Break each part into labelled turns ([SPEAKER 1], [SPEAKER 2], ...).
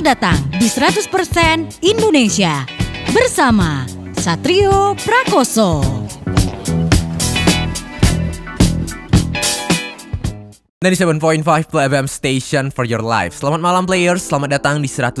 [SPEAKER 1] datang di 100% Indonesia bersama Satrio Prakoso.
[SPEAKER 2] Dari 7.5 Play FM Station for your life Selamat malam players, selamat datang di 100%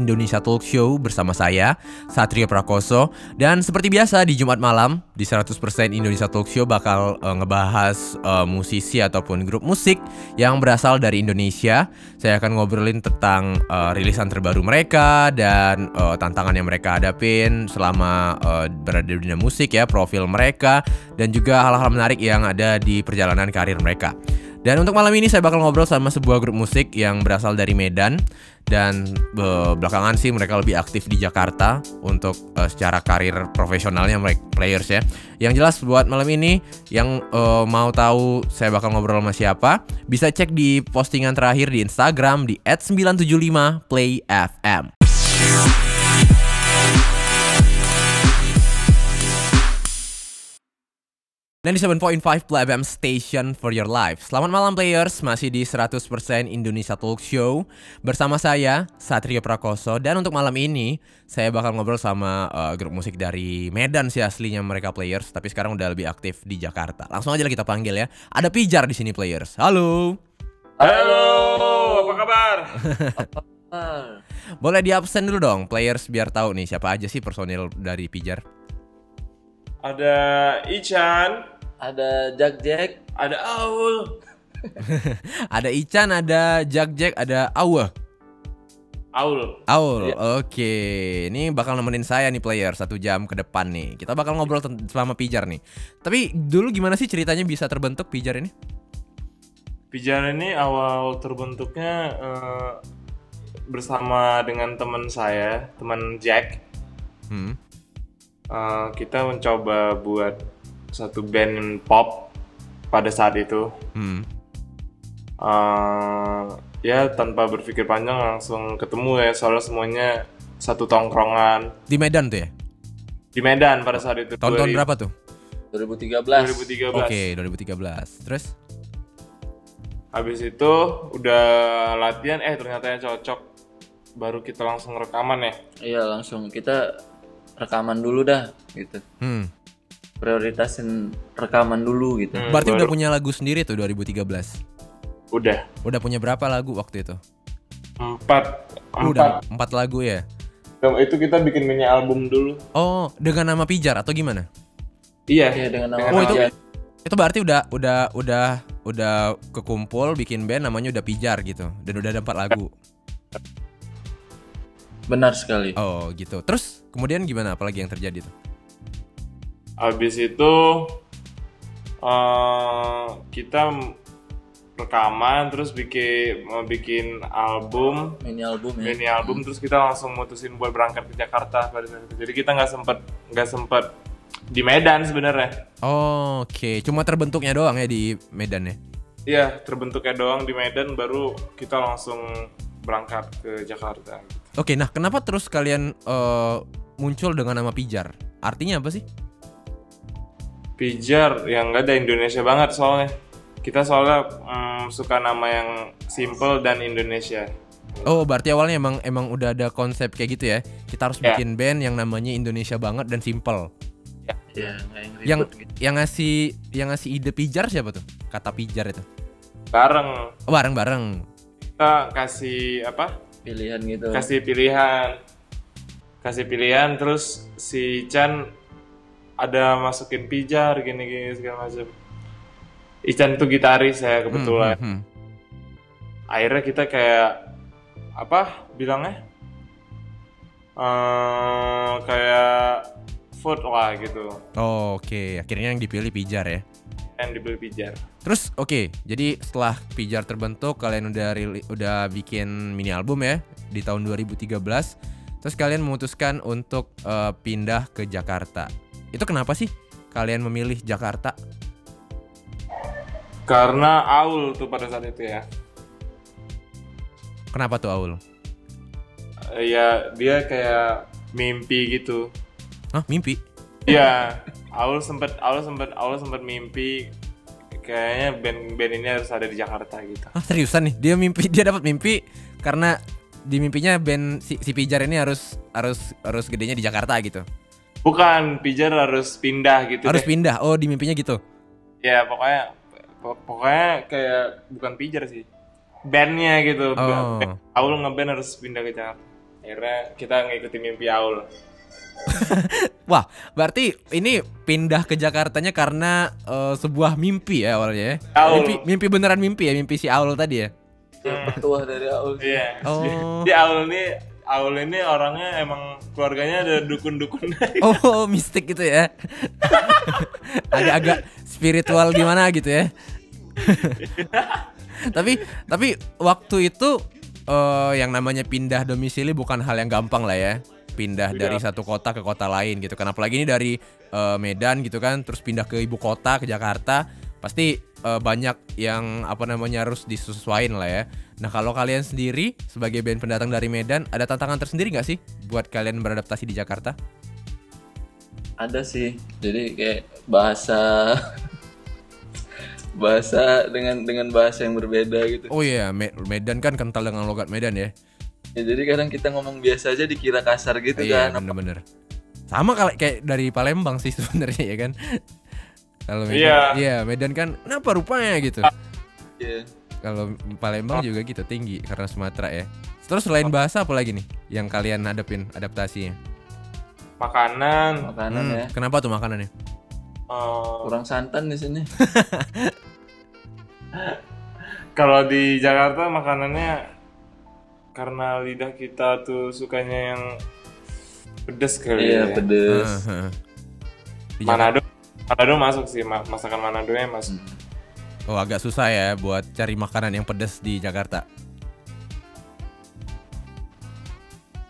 [SPEAKER 2] Indonesia Talk Show Bersama saya, Satrio Prakoso Dan seperti biasa di Jumat malam Di 100% Indonesia Talk Show bakal eh, ngebahas eh, musisi ataupun grup musik Yang berasal dari Indonesia Saya akan ngobrolin tentang eh, rilisan terbaru mereka Dan eh, tantangan yang mereka hadapin Selama eh, berada di dunia musik ya Profil mereka Dan juga hal-hal menarik yang ada di perjalanan karir mereka dan untuk malam ini saya bakal ngobrol sama sebuah grup musik yang berasal dari Medan dan eh, belakangan sih mereka lebih aktif di Jakarta untuk eh, secara karir profesionalnya mereka players ya. Yang jelas buat malam ini yang eh, mau tahu saya bakal ngobrol sama siapa bisa cek di postingan terakhir di Instagram di @975playfm. Dan di 7.5 Play FM Station for your life Selamat malam players, masih di 100% Indonesia Talk Show Bersama saya, Satrio Prakoso Dan untuk malam ini, saya bakal ngobrol sama eh, grup musik dari Medan sih aslinya mereka players Tapi sekarang udah lebih aktif di Jakarta Langsung aja lah kita panggil ya Ada Pijar di sini players, halo
[SPEAKER 3] Halo, apa kabar?
[SPEAKER 2] Boleh di absen dulu dong players biar tahu nih siapa aja sih personil dari Pijar
[SPEAKER 3] Ada Ichan,
[SPEAKER 4] ada Jack Jack,
[SPEAKER 3] ada Aul.
[SPEAKER 2] Ada Ican, ada Jack Jack, ada Awe
[SPEAKER 3] Aul.
[SPEAKER 2] Aul,
[SPEAKER 3] Iya.
[SPEAKER 2] oke. Ini bakal nemenin saya nih player satu jam ke depan nih. Kita bakal ngobrol ten- selama pijar nih. Tapi dulu gimana sih ceritanya bisa terbentuk pijar ini?
[SPEAKER 3] Pijar ini awal terbentuknya eh, bersama dengan teman saya, teman Jack.
[SPEAKER 2] Hmm.
[SPEAKER 3] Eh, kita mencoba buat satu band pop pada saat itu.
[SPEAKER 2] Hmm.
[SPEAKER 3] Eh, ya tanpa berpikir panjang langsung ketemu ya soalnya semuanya satu tongkrongan
[SPEAKER 2] Di Medan tuh ya?
[SPEAKER 3] di Medan pada saat itu.
[SPEAKER 2] Tahun-tahun
[SPEAKER 3] 2000-
[SPEAKER 2] berapa tuh?
[SPEAKER 4] 2013.
[SPEAKER 3] 2013.
[SPEAKER 2] Oke, 2013. Terus?
[SPEAKER 3] Habis itu udah latihan, eh ternyata yang cocok. Baru kita langsung rekaman ya.
[SPEAKER 4] Iya langsung kita rekaman dulu dah gitu.
[SPEAKER 2] Hmm.
[SPEAKER 4] Prioritasin rekaman dulu gitu.
[SPEAKER 3] Hmm,
[SPEAKER 2] Berarti udah
[SPEAKER 3] baru-
[SPEAKER 2] punya lagu sendiri tuh 2013.
[SPEAKER 3] udah
[SPEAKER 2] Udah punya berapa lagu waktu itu?
[SPEAKER 3] empat
[SPEAKER 2] Lu
[SPEAKER 3] empat.
[SPEAKER 2] Udah empat lagu ya.
[SPEAKER 3] Dan Itu kita bikin mini album dulu.
[SPEAKER 2] Oh, dengan nama pijar atau gimana?
[SPEAKER 3] Iya.
[SPEAKER 4] Iya dengan nama
[SPEAKER 3] Dengan
[SPEAKER 2] Oh, itu-
[SPEAKER 4] Jack.
[SPEAKER 2] Itu berarti udah udah udah udah kekumpul bikin band namanya udah pijar gitu dan udah ada empat lagu.
[SPEAKER 4] Benar sekali.
[SPEAKER 2] Oh gitu. Terus kemudian gimana? Apalagi yang terjadi tuh?
[SPEAKER 3] Habis itu eh, kita m- rekaman terus bikin mau bikin album
[SPEAKER 4] Mini album ya.
[SPEAKER 3] mini album terus kita langsung mutusin buat berangkat ke Jakarta pada saat itu. Jadi kita nggak sempet nggak sempet di Medan sebenarnya.
[SPEAKER 2] Oke, cuma terbentuknya doang ya di Medan ya.
[SPEAKER 3] Iya, terbentuknya doang di Medan baru kita langsung berangkat ke Jakarta.
[SPEAKER 2] Oke, nah kenapa terus kalian eh, muncul dengan nama Pijar? Artinya apa sih?
[SPEAKER 3] Pijar yang nggak ada Indonesia banget soalnya. Kita soalnya mm, suka nama yang simple dan Indonesia.
[SPEAKER 2] Oh, berarti awalnya emang emang udah ada konsep kayak gitu ya. Kita harus
[SPEAKER 3] Ya.
[SPEAKER 2] bikin band yang namanya Indonesia banget dan simple.
[SPEAKER 4] Iya, nggak yang ribet
[SPEAKER 2] Yang
[SPEAKER 4] gitu.
[SPEAKER 2] yang ngasih yang ngasih ide Pijar siapa tuh? Kata Pijar itu.
[SPEAKER 3] Bareng
[SPEAKER 2] Oh, bareng-bareng.
[SPEAKER 3] kita kasih apa?
[SPEAKER 4] pilihan gitu.
[SPEAKER 3] Kasih pilihan. Kasih pilihan terus si Chan ada masukin pijar gini-gini segala macam. Ican tuh gitaris ya
[SPEAKER 2] Hmm,
[SPEAKER 3] kebetulan.
[SPEAKER 2] hmm, hmm.
[SPEAKER 3] akhirnya kita kayak apa bilangnya eh kayak food lah gitu
[SPEAKER 2] Oke, akhirnya yang dipilih Pijar ya.
[SPEAKER 3] yang dibeli pijar
[SPEAKER 2] Terus oke, jadi setelah Pijar terbentuk kalian udah rili- udah bikin mini album ya di tahun 2013. Terus kalian memutuskan untuk eh, pindah ke Jakarta. Itu kenapa sih kalian memilih Jakarta?
[SPEAKER 3] karena Aul tuh pada saat itu ya
[SPEAKER 2] Kenapa tuh Aul?
[SPEAKER 3] Eh, ya dia kayak mimpi gitu
[SPEAKER 2] Hah, mimpi?
[SPEAKER 3] ya Aul sempet Aul sempet Aul sempet mimpi kayaknya band-band ini harus ada di Jakarta gitu
[SPEAKER 2] Ah, seriusan nih, dia mimpi dia dapat mimpi karena di mimpinya band si, si Pijar ini harus harus harus gedenya di Jakarta gitu.
[SPEAKER 3] Bukan, Pijar harus pindah gitu
[SPEAKER 2] harus
[SPEAKER 3] deh.
[SPEAKER 2] pindah. Oh, di mimpinya gitu.
[SPEAKER 3] Ya pokoknya po- pokoknya kayak bukan Pijar sih. Bandnya gitu.
[SPEAKER 2] Oh.
[SPEAKER 3] Band- Aul ngeband harus pindah ke Jakarta. Akhirnya kita ngikutin mimpi Aul.
[SPEAKER 2] Wah, berarti ini pindah ke Jakartanya karena eh, sebuah mimpi ya awalnya ya.
[SPEAKER 3] Aul.
[SPEAKER 2] Mimpi mimpi beneran mimpi ya, mimpi si Aul tadi ya.
[SPEAKER 4] Petuah dari Aul.
[SPEAKER 3] Iya.
[SPEAKER 2] Oh.
[SPEAKER 3] Jadi Aul ini Aul ini orangnya emang keluarganya ada dukun-dukun
[SPEAKER 2] Oh, mistik gitu ya. Agak-agak spiritual gimana gitu ya. tapi tapi waktu itu eh, yang namanya pindah domisili bukan hal yang gampang lah ya. Pindah dari satu kota ke kota lain gitu. Karena apalagi ini dari eh, Medan gitu kan, terus pindah ke ibu kota ke Jakarta, pasti eh, banyak yang apa namanya harus disesuaikan lah ya. Nah, kalau kalian sendiri sebagai band pendatang dari Medan, ada tantangan tersendiri nggak sih buat kalian beradaptasi di Jakarta?
[SPEAKER 4] Ada sih. Jadi kayak bahasa bahasa dengan dengan bahasa yang berbeda gitu.
[SPEAKER 2] Oh iya, Me- Medan kan kental dengan logat Medan ya.
[SPEAKER 4] Ya, jadi kadang kita ngomong biasa aja dikira kasar gitu
[SPEAKER 2] Iya,
[SPEAKER 4] kan.
[SPEAKER 2] bener-bener. Sama kali kayak dari Palembang sih sebenarnya ya kan. Kalau Medan,
[SPEAKER 3] Iya.
[SPEAKER 2] iya Medan kan kenapa rupanya gitu.
[SPEAKER 4] Iya.
[SPEAKER 2] Kalau Palembang juga gitu tinggi karena Sumatera ya. Terus selain
[SPEAKER 4] Oh.
[SPEAKER 2] bahasa apa lagi nih yang kalian hadapin adaptasinya?
[SPEAKER 3] makanan
[SPEAKER 4] Makanan
[SPEAKER 2] Hmm,
[SPEAKER 4] ya.
[SPEAKER 2] Kenapa tuh makanannya?
[SPEAKER 3] eh,
[SPEAKER 4] Kurang santan di sini.
[SPEAKER 3] Kalau di Jakarta makanannya karena lidah kita tuh sukanya yang pedes kali ya.
[SPEAKER 4] Iya, pedes.
[SPEAKER 2] Heeh. Di
[SPEAKER 3] Manado, Manado masuk sih ma- masakan Manado nya masuk.
[SPEAKER 4] Hmm.
[SPEAKER 2] Jakarta- Oh agak susah ya buat cari makanan yang pedas di Jakarta.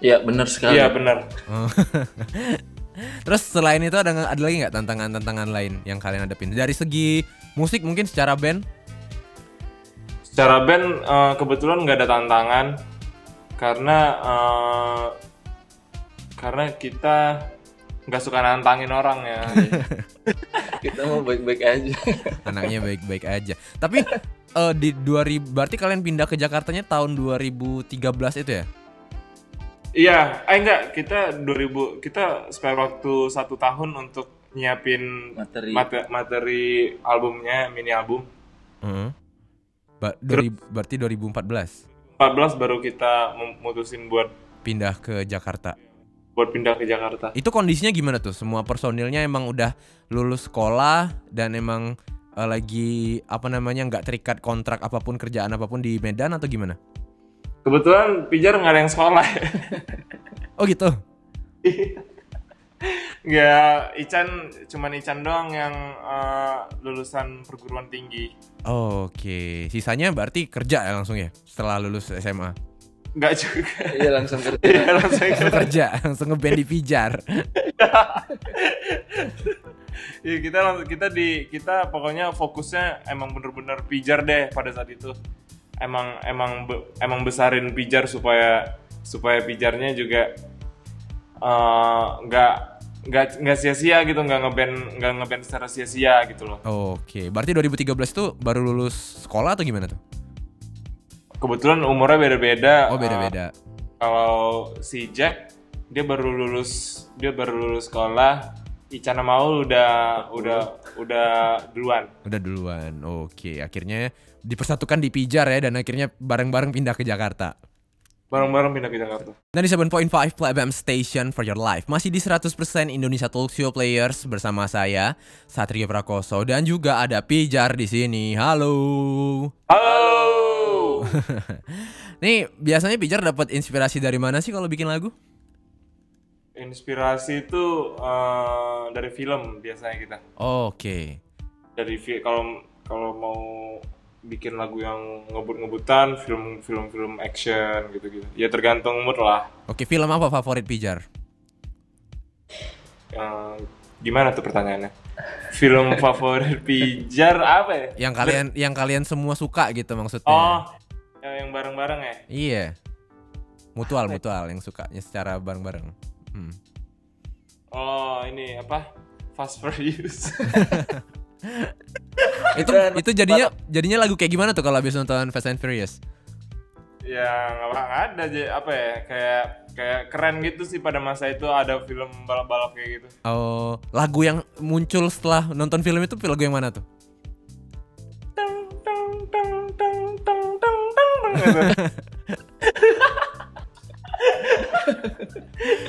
[SPEAKER 4] Iya, benar sekali.
[SPEAKER 3] Iya benar.
[SPEAKER 2] Oh. Terus selain itu ada ada lagi nggak tantangan-tantangan lain yang kalian hadapin? Dari segi musik mungkin secara band?
[SPEAKER 3] Secara band eh, kebetulan nggak ada tantangan karena eh, karena kita nggak suka nantangin orang ya.
[SPEAKER 4] Kita mau baik-baik aja.
[SPEAKER 2] Anaknya baik-baik aja. Tapi eh, di 2000 berarti kalian pindah ke Jakartanya tahun 2013 itu ya?
[SPEAKER 3] Iya, eh enggak kita 2000 kita spare waktu satu tahun untuk nyiapin
[SPEAKER 4] Materi.
[SPEAKER 3] mate- materi albumnya mini album.
[SPEAKER 2] Heeh. Ba- 2000 berarti 2014
[SPEAKER 3] 14 baru kita mem- mutusin buat
[SPEAKER 2] pindah ke Jakarta.
[SPEAKER 3] buat pindah ke Jakarta.
[SPEAKER 2] Itu kondisinya gimana tuh? Semua personilnya emang udah lulus sekolah dan emang eh, lagi apa namanya nggak terikat kontrak apapun kerjaan apapun di Medan atau gimana?
[SPEAKER 3] Kebetulan Pijar nggak ada yang sekolah.
[SPEAKER 2] Oh gitu.
[SPEAKER 3] Nggak, Ican cuman Ican doang yang eh, lulusan perguruan tinggi.
[SPEAKER 2] Oke, sisanya berarti kerja ya langsung ya setelah lulus SMA.
[SPEAKER 3] Nggak juga.
[SPEAKER 4] Iya, langsung kerja.
[SPEAKER 3] Iya, langsung ikut.
[SPEAKER 2] kerja, langsung ngeband di pijar.
[SPEAKER 3] Iya, kita lang- kita di kita pokoknya fokusnya emang bener-bener Pijar deh pada saat itu. Emang emang be- emang besarin Pijar supaya supaya Pijarnya juga eh, nggak nggak nggak sia-sia gitu nggak ngeband nggak ngeband secara sia-sia gitu loh
[SPEAKER 2] Oke, berarti 2013 tuh baru lulus sekolah atau gimana tuh?
[SPEAKER 3] kebetulan umurnya beda-beda.
[SPEAKER 2] Oh, beda-beda.
[SPEAKER 3] Uh, kalau si Jack dia baru lulus dia baru lulus sekolah. Icana Maul udah udah udah duluan.
[SPEAKER 2] Udah duluan. Oke, akhirnya dipersatukan di pijar ya dan akhirnya bareng-bareng pindah ke Jakarta.
[SPEAKER 3] Bareng-bareng pindah ke Jakarta.
[SPEAKER 2] Dan di 7.5 Play FM Station for Your Life Masih di 100% Indonesia Talk Show Players Bersama saya Satrio Prakoso Dan juga ada Pijar di sini Halo
[SPEAKER 3] Halo.
[SPEAKER 2] Nih biasanya Pijar dapat inspirasi dari mana sih kalau bikin lagu?
[SPEAKER 3] Inspirasi itu uh, dari film biasanya kita.
[SPEAKER 2] Oke.
[SPEAKER 3] Dari fi- kalau kalau mau bikin lagu yang ngebut-ngebutan, film film film action gitu-gitu. Ya tergantung mood lah.
[SPEAKER 2] Oke, film apa favorit Pijar?
[SPEAKER 3] Uh, gimana tuh pertanyaannya? Film favorit Pijar apa ya?
[SPEAKER 2] Yang kalian yang kalian semua suka gitu maksudnya.
[SPEAKER 3] Oh, yang yang bareng-bareng ya?
[SPEAKER 2] Iya. Mutual mutual yang sukanya secara bareng-bareng. Hmm.
[SPEAKER 3] Oh, ini apa? Fast for use.
[SPEAKER 2] Itu itu jadinya jadinya lagu kayak gimana tuh kalau habis nonton Fast and Furious?
[SPEAKER 3] yang apa Ya, nggak ada aja apa ya kayak kayak keren gitu sih pada masa itu ada film balap-balap kayak gitu
[SPEAKER 2] Oh, lagu yang muncul setelah nonton film itu lagu yang mana tuh?
[SPEAKER 3] teng teng teng teng teng teng teng teng gitu.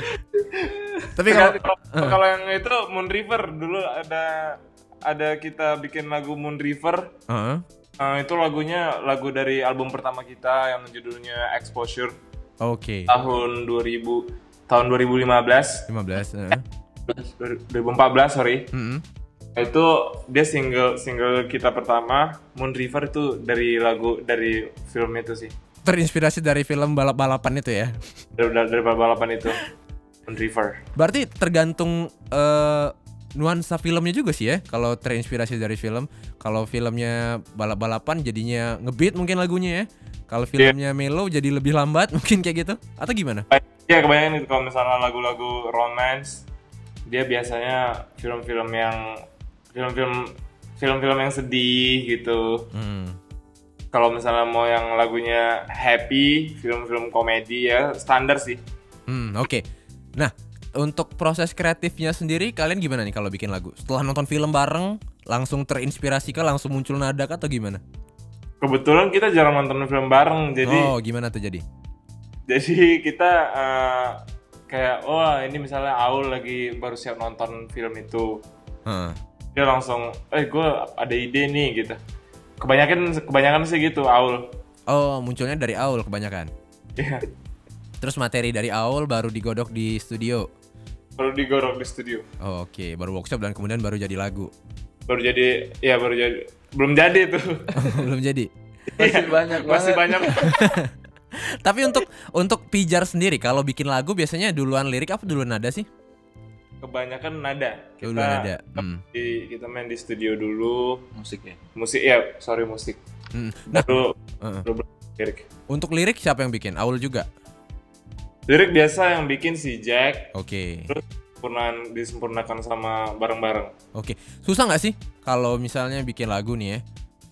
[SPEAKER 2] Tapi kalau
[SPEAKER 3] Kalau- kalau kalau yang itu Moon River dulu ada ada kita bikin lagu Moon River
[SPEAKER 2] Heeh.
[SPEAKER 3] Eh, itu lagunya lagu dari album pertama kita yang judulnya Exposure
[SPEAKER 2] Oke.
[SPEAKER 3] tahun 2000 tahun 2015
[SPEAKER 2] 15. heeh.
[SPEAKER 3] 2014 sorry
[SPEAKER 2] Mm-mm.
[SPEAKER 3] itu dia single single kita pertama Moon River itu dari lagu dari film itu sih
[SPEAKER 2] Terinspirasi dari film balap-balapan itu ya.
[SPEAKER 3] dari, dari, dari balapan itu Moon River
[SPEAKER 2] Berarti tergantung eh, nuansa filmnya juga sih ya. Kalau terinspirasi dari film, kalau filmnya balap-balapan jadinya ngebeat mungkin lagunya ya. Kalau filmnya mellow jadi lebih lambat mungkin kayak gitu atau gimana?
[SPEAKER 3] Iya kebanyakan itu kalau misalnya lagu-lagu romance dia biasanya film-film yang film-film film-film yang sedih gitu.
[SPEAKER 2] Hmm.
[SPEAKER 3] Kalau misalnya mau yang lagunya happy, film-film komedi ya standar sih.
[SPEAKER 2] Hmm, oke. Nah, untuk proses kreatifnya sendiri kalian gimana nih kalau bikin lagu? Setelah nonton film bareng langsung terinspirasi kah langsung muncul nada kah atau gimana?
[SPEAKER 3] Kebetulan kita jarang nonton film bareng jadi
[SPEAKER 2] oh, gimana tuh jadi?
[SPEAKER 3] jadi kita eh, kayak wah ini misalnya Aul lagi baru siap nonton film itu.
[SPEAKER 2] Heeh.
[SPEAKER 3] Dia langsung eh gue ada ide nih gitu. Kebanyakan kebanyakan sih gitu Aul.
[SPEAKER 2] Oh, munculnya dari Aul kebanyakan.
[SPEAKER 3] Iya.
[SPEAKER 2] Terus materi dari Aul baru digodok di studio.
[SPEAKER 3] baru digorok di studio
[SPEAKER 2] Oh, oke, baru workshop dan kemudian baru jadi lagu.
[SPEAKER 3] baru jadi ya baru jadi belum jadi tuh
[SPEAKER 2] Belum jadi.
[SPEAKER 4] Masih banyak
[SPEAKER 3] masih
[SPEAKER 4] banget.
[SPEAKER 3] banyak
[SPEAKER 2] Tapi untuk untuk pijar sendiri kalau bikin lagu biasanya duluan lirik apa duluan nada sih?
[SPEAKER 3] kebanyakan nada kita
[SPEAKER 2] Duluan nada. Hmm.
[SPEAKER 3] di- kita main di studio dulu
[SPEAKER 4] Musik ya.
[SPEAKER 3] musik ya sorry musik
[SPEAKER 2] Hmm. Nah,
[SPEAKER 3] baru
[SPEAKER 2] Heeh.
[SPEAKER 3] baru lirik
[SPEAKER 2] untuk lirik siapa yang bikin? Aul juga.
[SPEAKER 3] lirik biasa yang bikin si Jack
[SPEAKER 2] Oke.
[SPEAKER 3] terus sempurnaan disempurnakan sama bareng-bareng
[SPEAKER 2] Oke, susah nggak sih kalau misalnya bikin lagu nih ya?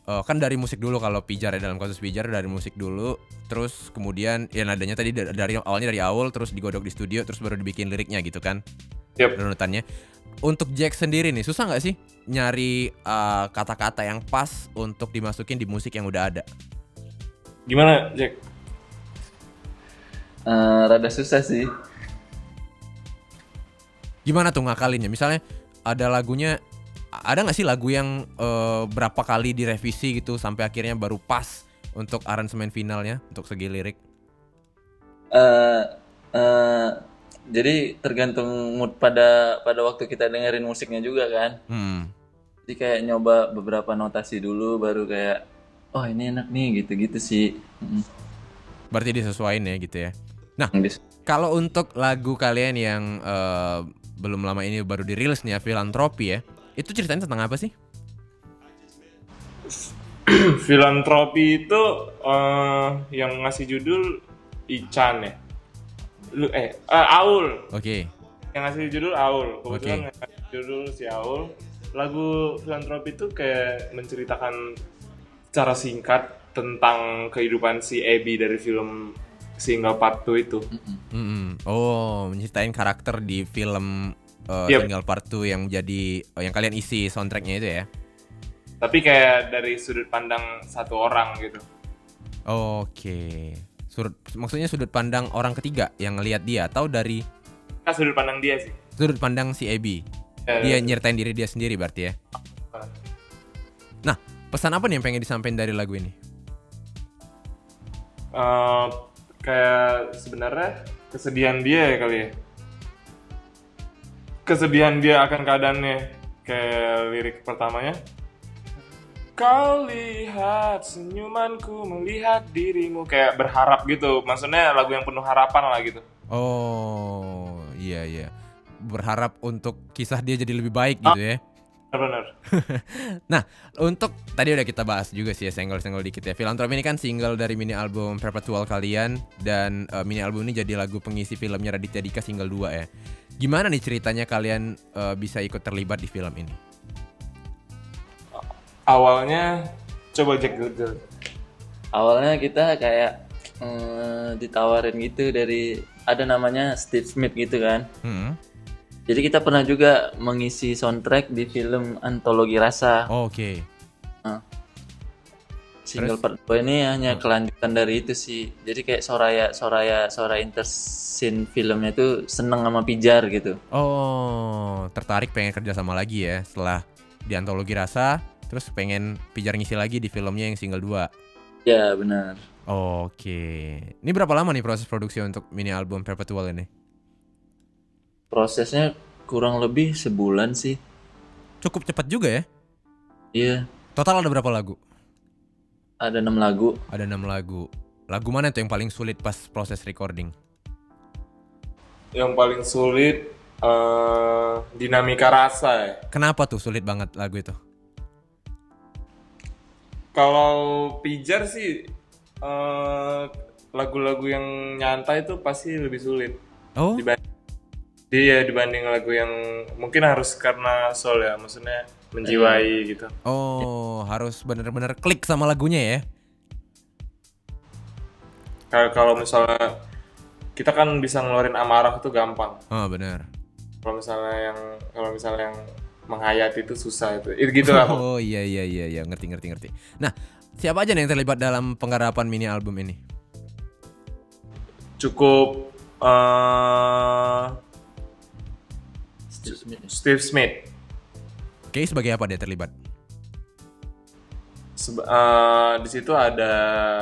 [SPEAKER 2] Eh, kan dari musik dulu kalau pijar ya dalam kasus pijar dari musik dulu, terus kemudian ya nadanya tadi da- dari awalnya dari awal terus digodok di studio terus baru dibikin liriknya gitu kan?
[SPEAKER 3] Yap.
[SPEAKER 2] Runutannya. Untuk Jack sendiri nih susah nggak sih nyari eh, kata-kata yang pas untuk dimasukin di musik yang udah ada?
[SPEAKER 3] gimana Jack
[SPEAKER 4] Eh, rada susah sih.
[SPEAKER 2] Gimana tuh ngakalinnya? Misalnya ada lagunya ada nggak sih lagu yang eh, berapa kali direvisi gitu sampai akhirnya baru pas untuk aransemen finalnya untuk segi lirik?
[SPEAKER 4] eh eh, jadi tergantung mood pada pada waktu kita dengerin musiknya juga kan.
[SPEAKER 2] Hmm.
[SPEAKER 4] Jadi kayak nyoba beberapa notasi dulu baru kayak oh ini enak nih gitu-gitu sih. Mm,
[SPEAKER 2] Berarti disesuaikan ya gitu ya. Nah,
[SPEAKER 4] gitu.
[SPEAKER 2] kalau untuk lagu kalian yang eh, belum lama ini baru dirilis nih ya, Filantropi ya. Itu ceritanya tentang apa sih?
[SPEAKER 3] Hmm, filantropi itu eh, yang ngasih judul Ican ya lu eh eh, Aul
[SPEAKER 2] Oke.
[SPEAKER 3] yang ngasih judul Aul kebetulan yang ngasih judul si Aul lagu filantropi itu kayak menceritakan secara singkat tentang kehidupan si Abby dari film single part 2 itu
[SPEAKER 2] Mm-mm. Oh, menceritain karakter di film eh,
[SPEAKER 3] Yep.
[SPEAKER 2] single part 2 yang jadi eh, yang kalian isi soundtracknya itu ya.
[SPEAKER 3] tapi kayak dari sudut pandang satu orang gitu
[SPEAKER 2] Oke. Sudut maksudnya sudut pandang orang ketiga yang ngelihat dia atau dari
[SPEAKER 3] nah sudut pandang dia sih
[SPEAKER 2] sudut pandang si Abby.
[SPEAKER 3] Ya,
[SPEAKER 2] Dia
[SPEAKER 3] ya.
[SPEAKER 2] nyertain diri dia sendiri berarti ya.
[SPEAKER 3] Eh,
[SPEAKER 2] Nah, pesan apa nih yang pengen disampaikan dari lagu ini?
[SPEAKER 3] Eh, kayak sebenarnya kesedihan dia ya kali ya kesedihan dia akan keadaannya kayak lirik pertamanya Kau lihat senyumanku melihat dirimu kayak berharap gitu maksudnya lagu yang penuh harapan lah gitu
[SPEAKER 2] Oh iya iya berharap untuk kisah dia jadi lebih baik gitu ya.
[SPEAKER 3] benar
[SPEAKER 2] Nah untuk tadi udah kita bahas juga sih ya single-single dikit ya. Filantrop ini kan single dari mini album Perpetual kalian dan eh, mini album ini jadi lagu pengisi filmnya Raditya Dika single 2 ya. Gimana nih ceritanya kalian eh, bisa ikut terlibat di film ini?
[SPEAKER 3] awalnya coba Jack dulu.
[SPEAKER 4] Awalnya kita kayak eh, ditawarin gitu dari ada namanya Steve Smith gitu kan.
[SPEAKER 2] Hmm.
[SPEAKER 4] Jadi kita pernah juga mengisi soundtrack di film antologi rasa
[SPEAKER 2] Oh, Oke.
[SPEAKER 4] single part 2 ini hanya kelanjutan dari itu sih. Jadi kayak Soraya Soraya Soraya intersin filmnya itu seneng sama pijar gitu.
[SPEAKER 2] Oh, tertarik pengen kerja sama lagi ya setelah di antologi rasa, terus pengen pijar ngisi lagi di filmnya yang single 2.
[SPEAKER 4] Ya benar.
[SPEAKER 2] Oke. Ini berapa lama nih proses produksi untuk mini album Perpetual ini?
[SPEAKER 4] Prosesnya kurang lebih sebulan sih.
[SPEAKER 2] Cukup cepat juga ya.
[SPEAKER 4] Iya,
[SPEAKER 2] Total ada berapa lagu?
[SPEAKER 4] ada enam lagu.
[SPEAKER 2] Ada 6 lagu. Lagu mana tuh yang paling sulit pas proses recording?
[SPEAKER 3] Yang paling sulit eh, dinamika rasa ya.
[SPEAKER 2] Kenapa tuh sulit banget lagu itu?
[SPEAKER 3] Kalau pijar sih eh, lagu-lagu yang nyantai itu pasti lebih sulit.
[SPEAKER 2] Oh,
[SPEAKER 3] Dibanding, iya dibanding lagu yang mungkin harus karena soul ya, maksudnya menjiwai gitu.
[SPEAKER 2] oh harus bener-bener klik sama lagunya ya.
[SPEAKER 3] Kalau kalau misalnya kita kan bisa ngeluarin amarah tuh gampang.
[SPEAKER 2] Oh bener.
[SPEAKER 3] Kalau misalnya yang kalau misalnya yang menghayati itu susah itu. Itu gitu lah.
[SPEAKER 2] Oh iya iya iya iya ngerti ngerti ngerti. Nah siapa aja nih yang terlibat dalam penggarapan mini album ini?
[SPEAKER 3] Cukup eh,
[SPEAKER 4] Steve Smith.
[SPEAKER 3] Steve Smith
[SPEAKER 2] Oke sebagai apa dia terlibat?
[SPEAKER 3] Seb- eh, di situ ada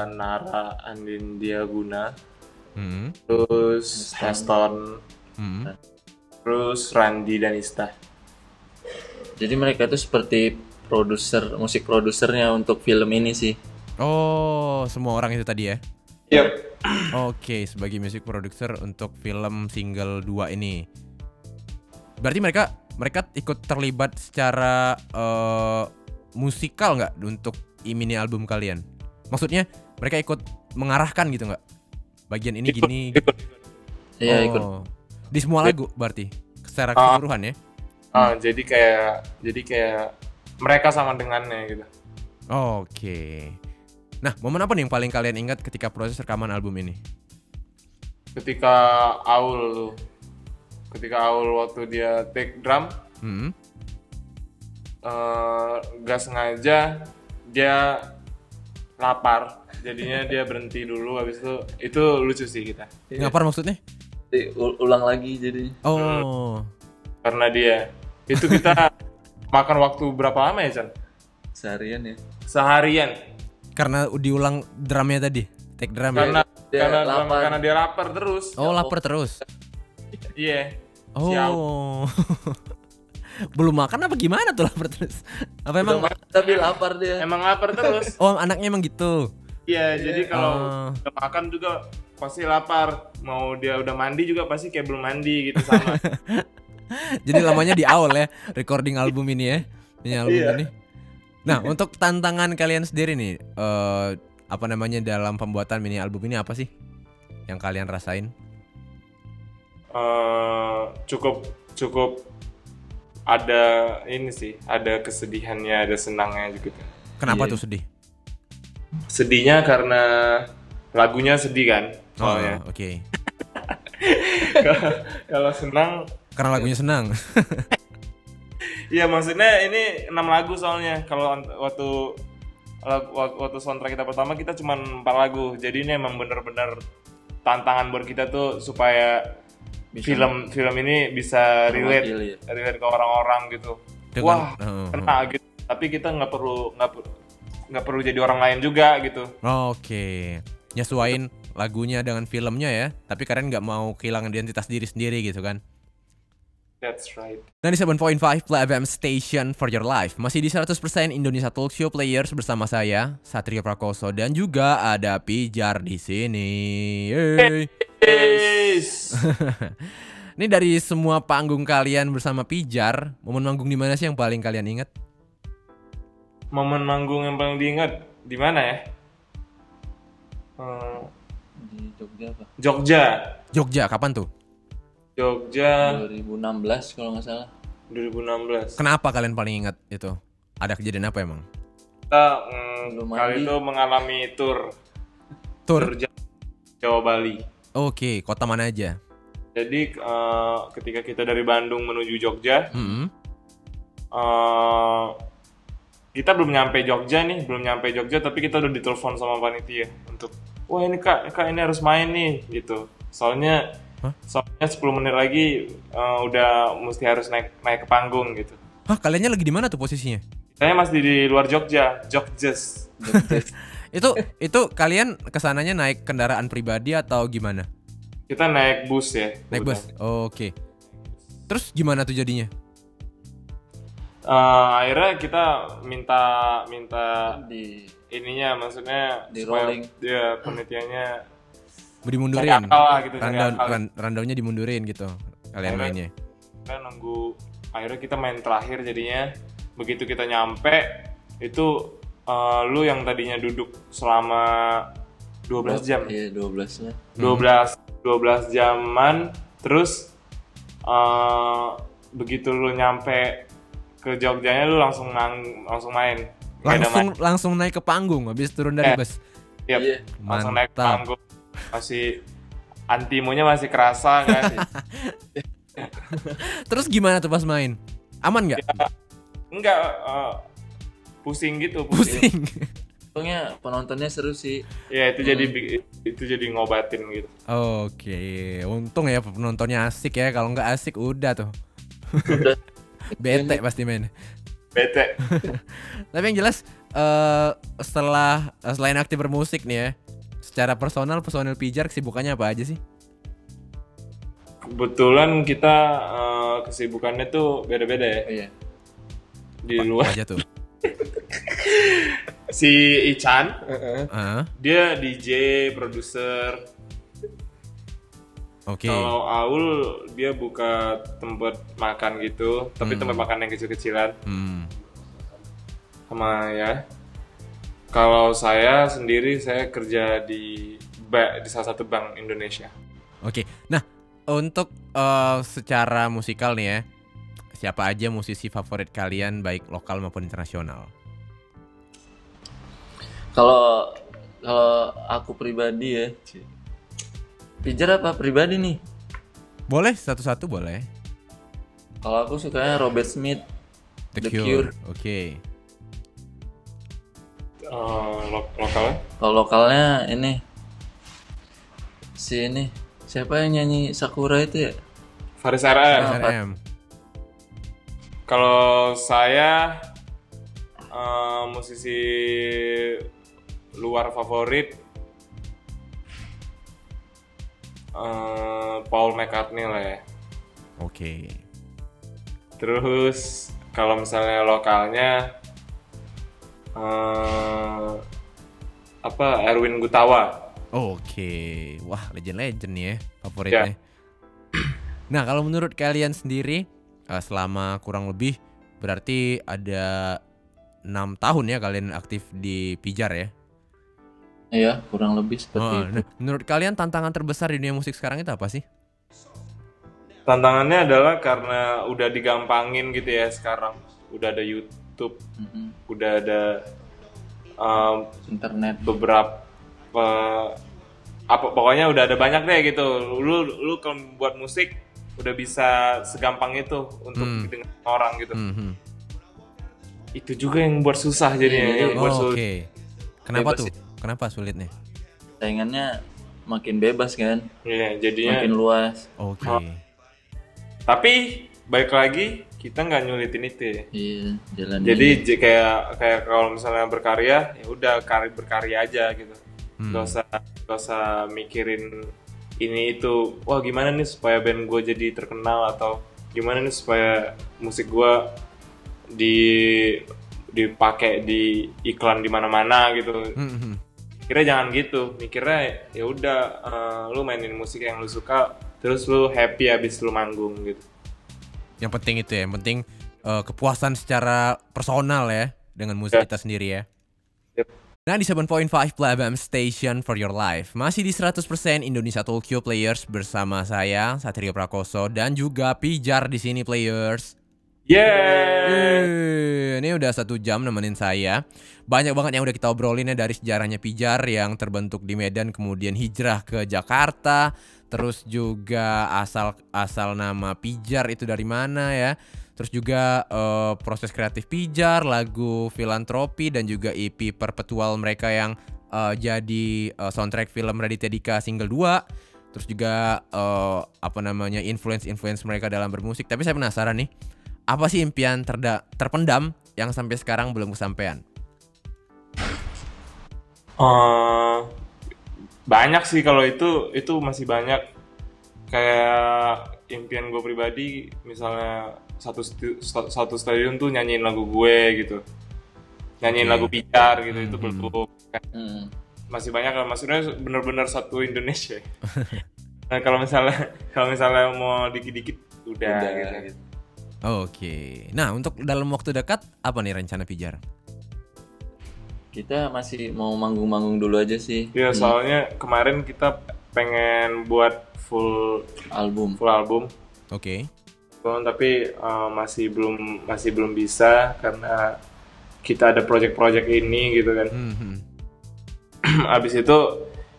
[SPEAKER 3] Nara Andin Diaguna,
[SPEAKER 2] Hmm,
[SPEAKER 3] terus Heston,
[SPEAKER 2] hmm.
[SPEAKER 3] terus Randi dan Ista.
[SPEAKER 4] Jadi mereka itu seperti produser musik produsernya untuk film ini sih.
[SPEAKER 2] Oh semua orang itu tadi ya.
[SPEAKER 3] Yep.
[SPEAKER 2] Oke sebagai music producer untuk film single 2 ini. Berarti mereka mereka ikut terlibat secara eh, musikal nggak untuk i- mini album kalian? Maksudnya mereka ikut mengarahkan gitu nggak? Bagian ini gini.
[SPEAKER 4] Iya ikut.
[SPEAKER 2] Oh. Di semua lagu berarti secara keseluruhan ya.
[SPEAKER 3] Ah, jadi kayak jadi kayak mereka sama dengannya gitu.
[SPEAKER 4] Ah.
[SPEAKER 2] Oke. Nah, momen apa nih yang paling kalian ingat ketika proses rekaman album ini?
[SPEAKER 3] Ketika Aul tuh, ketika Aul waktu dia take drum,
[SPEAKER 2] Hmm.
[SPEAKER 3] eh gak sengaja dia lapar, jadinya dia berhenti dulu. Habis itu itu lucu sih kita
[SPEAKER 2] Ngapar maksudnya?
[SPEAKER 4] Jadi u- ulang lagi jadi.
[SPEAKER 2] Oh.
[SPEAKER 3] karena dia itu kita makan waktu berapa lama ya Chan?
[SPEAKER 4] Seharian ya.
[SPEAKER 3] Seharian
[SPEAKER 2] Karena diulang drumnya tadi. Take drum ya?
[SPEAKER 3] karena
[SPEAKER 4] Iya,
[SPEAKER 3] karena
[SPEAKER 4] Dia lapar.
[SPEAKER 3] karena dia lapar terus.
[SPEAKER 2] Oh, lapar terus.
[SPEAKER 3] Iya. Siap.
[SPEAKER 2] Oh. Belum makan apa gimana tuh lapar terus? Apa emang
[SPEAKER 4] Udah makan tapi lapar dia.
[SPEAKER 3] Emang lapar terus.
[SPEAKER 2] Oh, anaknya emang gitu.
[SPEAKER 3] Iya, jadi kalau
[SPEAKER 2] Ah.
[SPEAKER 3] udah makan juga pasti lapar. Mau dia udah mandi juga pasti kayak belum mandi gitu sama.
[SPEAKER 2] Jadi lamanya di awal ya recording album ini ya. Ini album
[SPEAKER 3] Iya.
[SPEAKER 2] ini. Nah, untuk tantangan kalian sendiri nih eh apa namanya dalam pembuatan mini album ini apa sih yang kalian rasain?
[SPEAKER 3] Eh, cukup cukup ada ini sih, ada kesedihannya, ada senangnya juga.
[SPEAKER 2] Kenapa
[SPEAKER 4] Iya.
[SPEAKER 2] tuh sedih?
[SPEAKER 3] Sedihnya karena lagunya sedih kan
[SPEAKER 2] Oh,
[SPEAKER 3] soalnya.
[SPEAKER 2] oke.
[SPEAKER 3] Kalau- kalau senang,
[SPEAKER 2] Karena lagunya senang.
[SPEAKER 3] iya maksudnya ini 6 lagu soalnya. Kalau an- waktu lagu- wak- waktu soundtrack kita pertama kita cuman 4 lagu. Jadi ini emang bener-bener tantangan buat kita tuh supaya
[SPEAKER 4] Bisa
[SPEAKER 3] film film ini bisa relate
[SPEAKER 4] mewakili ya.
[SPEAKER 3] relate ke orang-orang gitu.
[SPEAKER 2] Dengan-
[SPEAKER 3] Wah,
[SPEAKER 2] Heeh.
[SPEAKER 3] kena gitu. Tapi kita nggak perlu nggak per- nggak perlu jadi orang lain juga gitu.
[SPEAKER 2] oke. Nyesuain lagunya dengan filmnya ya, tapi kalian nggak mau kehilangan identitas diri sendiri gitu kan?
[SPEAKER 3] That's right.
[SPEAKER 2] 97.5 Play FM Station for your life Masih di 100% Indonesia Talk Show Players bersama saya Satrio Prakoso dan juga ada Pijar di sini. Yeay.
[SPEAKER 3] Yes.
[SPEAKER 2] Ini dari semua panggung kalian bersama Pijar, momen manggung di mana sih yang paling kalian ingat?
[SPEAKER 3] Momen manggung yang paling diingat di mana ya? Hmm,
[SPEAKER 4] Di Jogja apa?
[SPEAKER 3] Jogja.
[SPEAKER 2] Jogja, kapan tuh?
[SPEAKER 3] Jogja
[SPEAKER 4] 2016 kalau nggak salah.
[SPEAKER 3] 2016.
[SPEAKER 2] Kenapa kalian paling ingat itu? Ada kejadian apa emang?
[SPEAKER 3] Kita mm,
[SPEAKER 4] Belum
[SPEAKER 3] kali
[SPEAKER 4] mandi.
[SPEAKER 3] itu mengalami tour
[SPEAKER 2] Tur.
[SPEAKER 3] tour, Ja- Jawa Bali.
[SPEAKER 2] Oke, kota mana aja?
[SPEAKER 3] Jadi eh, ketika kita dari Bandung menuju Jogja,
[SPEAKER 2] Mm-mm.
[SPEAKER 3] eh, kita belum nyampe Jogja nih, belum nyampe Jogja, tapi kita udah ditelepon sama panitia untuk, wah ini kak, kak ini harus main nih gitu. Soalnya,
[SPEAKER 2] Hah?
[SPEAKER 3] soalnya 10 menit lagi eh, udah mesti harus naik naik ke panggung gitu.
[SPEAKER 2] Hah, kaliannya lagi di mana tuh posisinya?
[SPEAKER 3] Saya masih di luar Jogja, Jogjes.
[SPEAKER 2] Itu itu kalian kesananya naik kendaraan pribadi atau gimana?
[SPEAKER 3] Kita naik bus ya.
[SPEAKER 2] Naik
[SPEAKER 3] udah.
[SPEAKER 2] bus. Oke. Terus gimana tuh jadinya?
[SPEAKER 3] Eh, akhirnya kita minta minta
[SPEAKER 4] di
[SPEAKER 3] ininya maksudnya
[SPEAKER 4] Di
[SPEAKER 3] supaya
[SPEAKER 4] rolling.
[SPEAKER 3] dia penelitiannya
[SPEAKER 2] Dimundurin.
[SPEAKER 3] Cari akal lah gitu, cari
[SPEAKER 2] Rundown,
[SPEAKER 3] akal.
[SPEAKER 2] run- rundownnya dimundurin gitu. Kalian
[SPEAKER 3] Akhirnya-
[SPEAKER 2] mainnya.
[SPEAKER 3] kita nunggu akhirnya kita main terakhir jadinya begitu kita nyampe itu eh, lu yang tadinya duduk selama 12 jam
[SPEAKER 4] Iya, 12 nya
[SPEAKER 3] 12 12 jaman terus eh, begitu lu nyampe ke Jogjanya lu langsung mang- langsung main Gak ada
[SPEAKER 2] Langsung langsung naik ke panggung habis turun dari
[SPEAKER 3] Eh.
[SPEAKER 2] bus.
[SPEAKER 3] Yap,
[SPEAKER 4] Iya.
[SPEAKER 3] langsung naik
[SPEAKER 2] Mantap.
[SPEAKER 3] panggung. Masih antimonya masih kerasa kan.
[SPEAKER 2] Terus gimana tuh pas main? Aman nggak?
[SPEAKER 3] Iya, Enggak eh, pusing gitu, pusing.
[SPEAKER 2] Pusing.
[SPEAKER 4] Untungnya penontonnya seru sih.
[SPEAKER 3] Ya itu
[SPEAKER 2] Hmm.
[SPEAKER 3] jadi bi- itu jadi ngobatin gitu.
[SPEAKER 2] Oke, untung ya penontonnya asik ya. Kalau nggak asik udah tuh.
[SPEAKER 4] Udah.
[SPEAKER 2] Bete pasti main.
[SPEAKER 3] Bete.
[SPEAKER 2] Tapi yang jelas eh setelah eh, selain aktif bermusik nih ya, secara personal personil pijar kesibukannya apa aja sih?
[SPEAKER 3] Kebetulan kita eh, kesibukannya tuh beda-beda ya
[SPEAKER 4] Oh, iya.
[SPEAKER 3] di
[SPEAKER 2] Apa
[SPEAKER 3] luar.
[SPEAKER 2] aja tuh.
[SPEAKER 3] Si Ichan,
[SPEAKER 2] Ah,
[SPEAKER 3] dia DJ, produser.
[SPEAKER 2] Oke.
[SPEAKER 3] Kalau Aul dia buka tempat makan gitu, tapi tempat makan yang kecil-kecilan.
[SPEAKER 2] Hmm.
[SPEAKER 3] sama ya. Kalau saya sendiri saya kerja di ba- di salah satu bank Indonesia.
[SPEAKER 2] Oke. Nah, untuk eh, secara musikal nih ya, siapa aja musisi favorit kalian baik lokal maupun internasional?
[SPEAKER 4] Kalau kalau aku pribadi ya. Pijar apa pribadi nih?
[SPEAKER 2] Boleh satu-satu boleh.
[SPEAKER 4] Kalau aku sukanya Robert Smith.
[SPEAKER 2] The,
[SPEAKER 4] The
[SPEAKER 2] Cure.
[SPEAKER 4] Cure.
[SPEAKER 2] Oke.
[SPEAKER 3] Eh, lo- lokalnya
[SPEAKER 4] Kalau lokalnya ini si ini siapa yang nyanyi Sakura itu ya?
[SPEAKER 3] Faris RM.
[SPEAKER 2] SNM.
[SPEAKER 3] Kalau saya eh, musisi luar favorit eh, Paul McCartney lah ya.
[SPEAKER 2] Oke.
[SPEAKER 3] Terus kalau misalnya lokalnya eh, apa Erwin Gutawa.
[SPEAKER 2] Oke. Wah, legend-legend nih ya favoritnya. Nah, kalau menurut kalian sendiri eh, selama kurang lebih berarti ada enam tahun ya kalian aktif di Pijar ya.
[SPEAKER 4] Iya, kurang lebih seperti
[SPEAKER 2] Oh,
[SPEAKER 4] itu.
[SPEAKER 2] nah, menurut kalian tantangan terbesar di dunia musik sekarang itu apa sih?
[SPEAKER 3] Tantangannya adalah karena udah digampangin gitu ya sekarang. Udah ada YouTube,
[SPEAKER 4] Mhm.
[SPEAKER 3] udah ada um,
[SPEAKER 4] Internet.
[SPEAKER 3] beberapa apa pokoknya udah ada banyak deh gitu. Lu lu kalau buat musik udah bisa segampang itu untuk
[SPEAKER 2] Hmm.
[SPEAKER 3] dengan orang gitu.
[SPEAKER 2] Mhm.
[SPEAKER 3] Itu juga yang buat susah jadinya.
[SPEAKER 4] Iya,
[SPEAKER 3] yang buat
[SPEAKER 2] Oh, Oke.
[SPEAKER 3] sulit.
[SPEAKER 2] Kenapa
[SPEAKER 4] Bebas
[SPEAKER 2] tuh?
[SPEAKER 4] sih.
[SPEAKER 2] Kenapa sulitnya?
[SPEAKER 4] Saingannya makin bebas kan,
[SPEAKER 3] Iya, jadinya.
[SPEAKER 4] makin luas.
[SPEAKER 2] Oke.
[SPEAKER 3] Tapi baik lagi kita nggak nyulitin itu. ya.
[SPEAKER 4] Iya, jalan.
[SPEAKER 3] Jadi j- kayak kayak kalau misalnya berkarya ya udah kari berkarya aja gitu.
[SPEAKER 2] Hmm.
[SPEAKER 3] Gak usah gak usah mikirin ini itu. Wah gimana nih supaya band gue jadi terkenal atau gimana nih supaya musik gue di dipakai di iklan di mana-mana gitu.
[SPEAKER 2] Mhm.
[SPEAKER 3] Kira jangan gitu. Mikirnya ya udah eh, lu mainin musik yang lu suka terus lu happy abis lu manggung gitu.
[SPEAKER 2] Yang penting itu ya, yang penting eh, kepuasan secara personal ya dengan musik kita sendiri ya.
[SPEAKER 3] Yep.
[SPEAKER 2] Nah di 7.5 Plabam Station for Your Life Masih di 100% Indonesia Tokyo Players Bersama saya Satrio Prakoso Dan juga Pijar di sini Players
[SPEAKER 3] Yeah.
[SPEAKER 2] Yeay, Ini ini udah satu jam nemenin saya. Banyak banget yang udah kita obrolin ya dari sejarahnya Pijar yang terbentuk di Medan kemudian hijrah ke Jakarta, terus juga asal asal nama Pijar itu dari mana ya. Terus juga eh, proses kreatif Pijar, lagu filantropi dan juga EP perpetual mereka yang eh, jadi eh, soundtrack film Raditya Dika single 2 terus juga eh, apa namanya influence influence mereka dalam bermusik tapi saya penasaran nih apa sih impian terda- terpendam yang sampai sekarang belum kesampaian
[SPEAKER 3] Eh, banyak sih kalau itu itu masih banyak kayak impian gue pribadi misalnya satu stu- sta- satu stadion tuh nyanyiin lagu gue gitu nyanyiin
[SPEAKER 2] Oke.
[SPEAKER 3] lagu pijar gitu itu
[SPEAKER 2] Mhm.
[SPEAKER 3] belum
[SPEAKER 4] Hmm.
[SPEAKER 3] masih banyak lah maksudnya bener-bener satu Indonesia nah kalau misalnya kalau misalnya mau dikit-dikit udah,
[SPEAKER 4] Udah,
[SPEAKER 3] gitu.
[SPEAKER 4] gitu.
[SPEAKER 2] oke nah untuk dalam waktu dekat apa nih rencana pijar
[SPEAKER 4] Kita masih mau manggung-manggung dulu aja sih.
[SPEAKER 3] Iya,
[SPEAKER 4] Hmm,
[SPEAKER 3] soalnya kemarin kita pengen buat full
[SPEAKER 4] album.
[SPEAKER 3] full album
[SPEAKER 2] oke
[SPEAKER 3] Bang, tapi eh, masih belum masih belum bisa karena kita ada project-project ini gitu kan.
[SPEAKER 2] Hmm, hmm.
[SPEAKER 3] Abis itu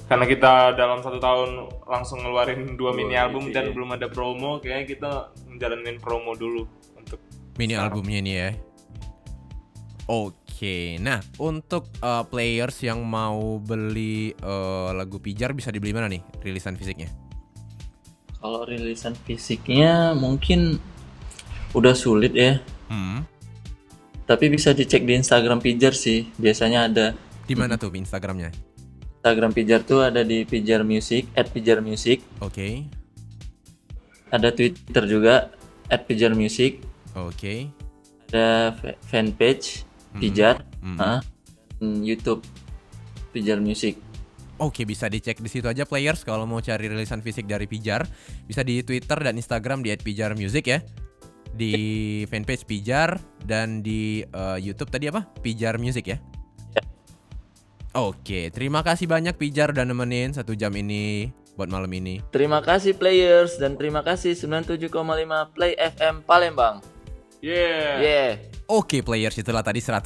[SPEAKER 3] karena kita dalam satu tahun langsung ngeluarin dua
[SPEAKER 4] Dua
[SPEAKER 3] mini album
[SPEAKER 4] EP,
[SPEAKER 3] dan
[SPEAKER 4] ya.
[SPEAKER 3] belum ada promo, kayaknya kita ngejalanin promo dulu untuk
[SPEAKER 2] mini
[SPEAKER 3] Sekarang.
[SPEAKER 2] albumnya ini ya Oke, nah untuk eh, players yang mau beli eh, lagu Pijar bisa dibeli mana nih rilisan fisiknya?
[SPEAKER 4] Kalau rilisan fisiknya mungkin udah sulit ya.
[SPEAKER 2] Hmm.
[SPEAKER 4] Tapi bisa dicek di Instagram Pijar sih. Biasanya ada
[SPEAKER 2] Di mana tuh Instagramnya?
[SPEAKER 4] Instagram Pijar tuh ada di Pijar Music, @pijarmusic.
[SPEAKER 2] Oke,
[SPEAKER 4] Ada Twitter juga @pijarmusic.
[SPEAKER 2] oke.
[SPEAKER 4] Ada fa- fanpage Pijar.
[SPEAKER 2] Hmm.
[SPEAKER 4] Hah? Dan YouTube Pijar Music.
[SPEAKER 2] Oke bisa dicek di situ aja players kalau mau cari rilisan fisik dari Pijar bisa di Twitter dan Instagram di @pijarmusic ya di fanpage Pijar dan di eh, YouTube tadi apa Pijar Music ya.
[SPEAKER 4] Ya.
[SPEAKER 2] Oke terima kasih banyak Pijar udah nemenin satu jam ini buat malam ini.
[SPEAKER 4] Terima kasih players dan terima kasih 97,5 Play FM Palembang.
[SPEAKER 3] Yeah.
[SPEAKER 4] Yeah.
[SPEAKER 2] Oke players itulah tadi 100%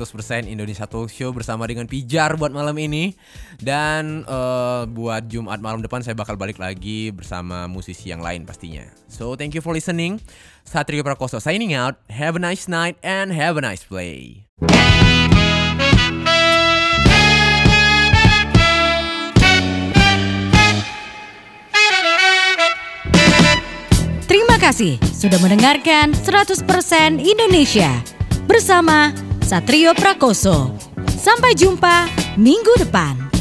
[SPEAKER 2] Indonesia Talk Show bersama dengan Pijar buat malam ini Dan eh, buat Jumat malam depan saya bakal balik lagi bersama musisi yang lain pastinya So thank you for listening Satrio Prakoso signing out Have a nice night and have a nice play
[SPEAKER 1] Terima kasih sudah mendengarkan 100% Indonesia bersama Satrio Prakoso. Sampai jumpa minggu depan.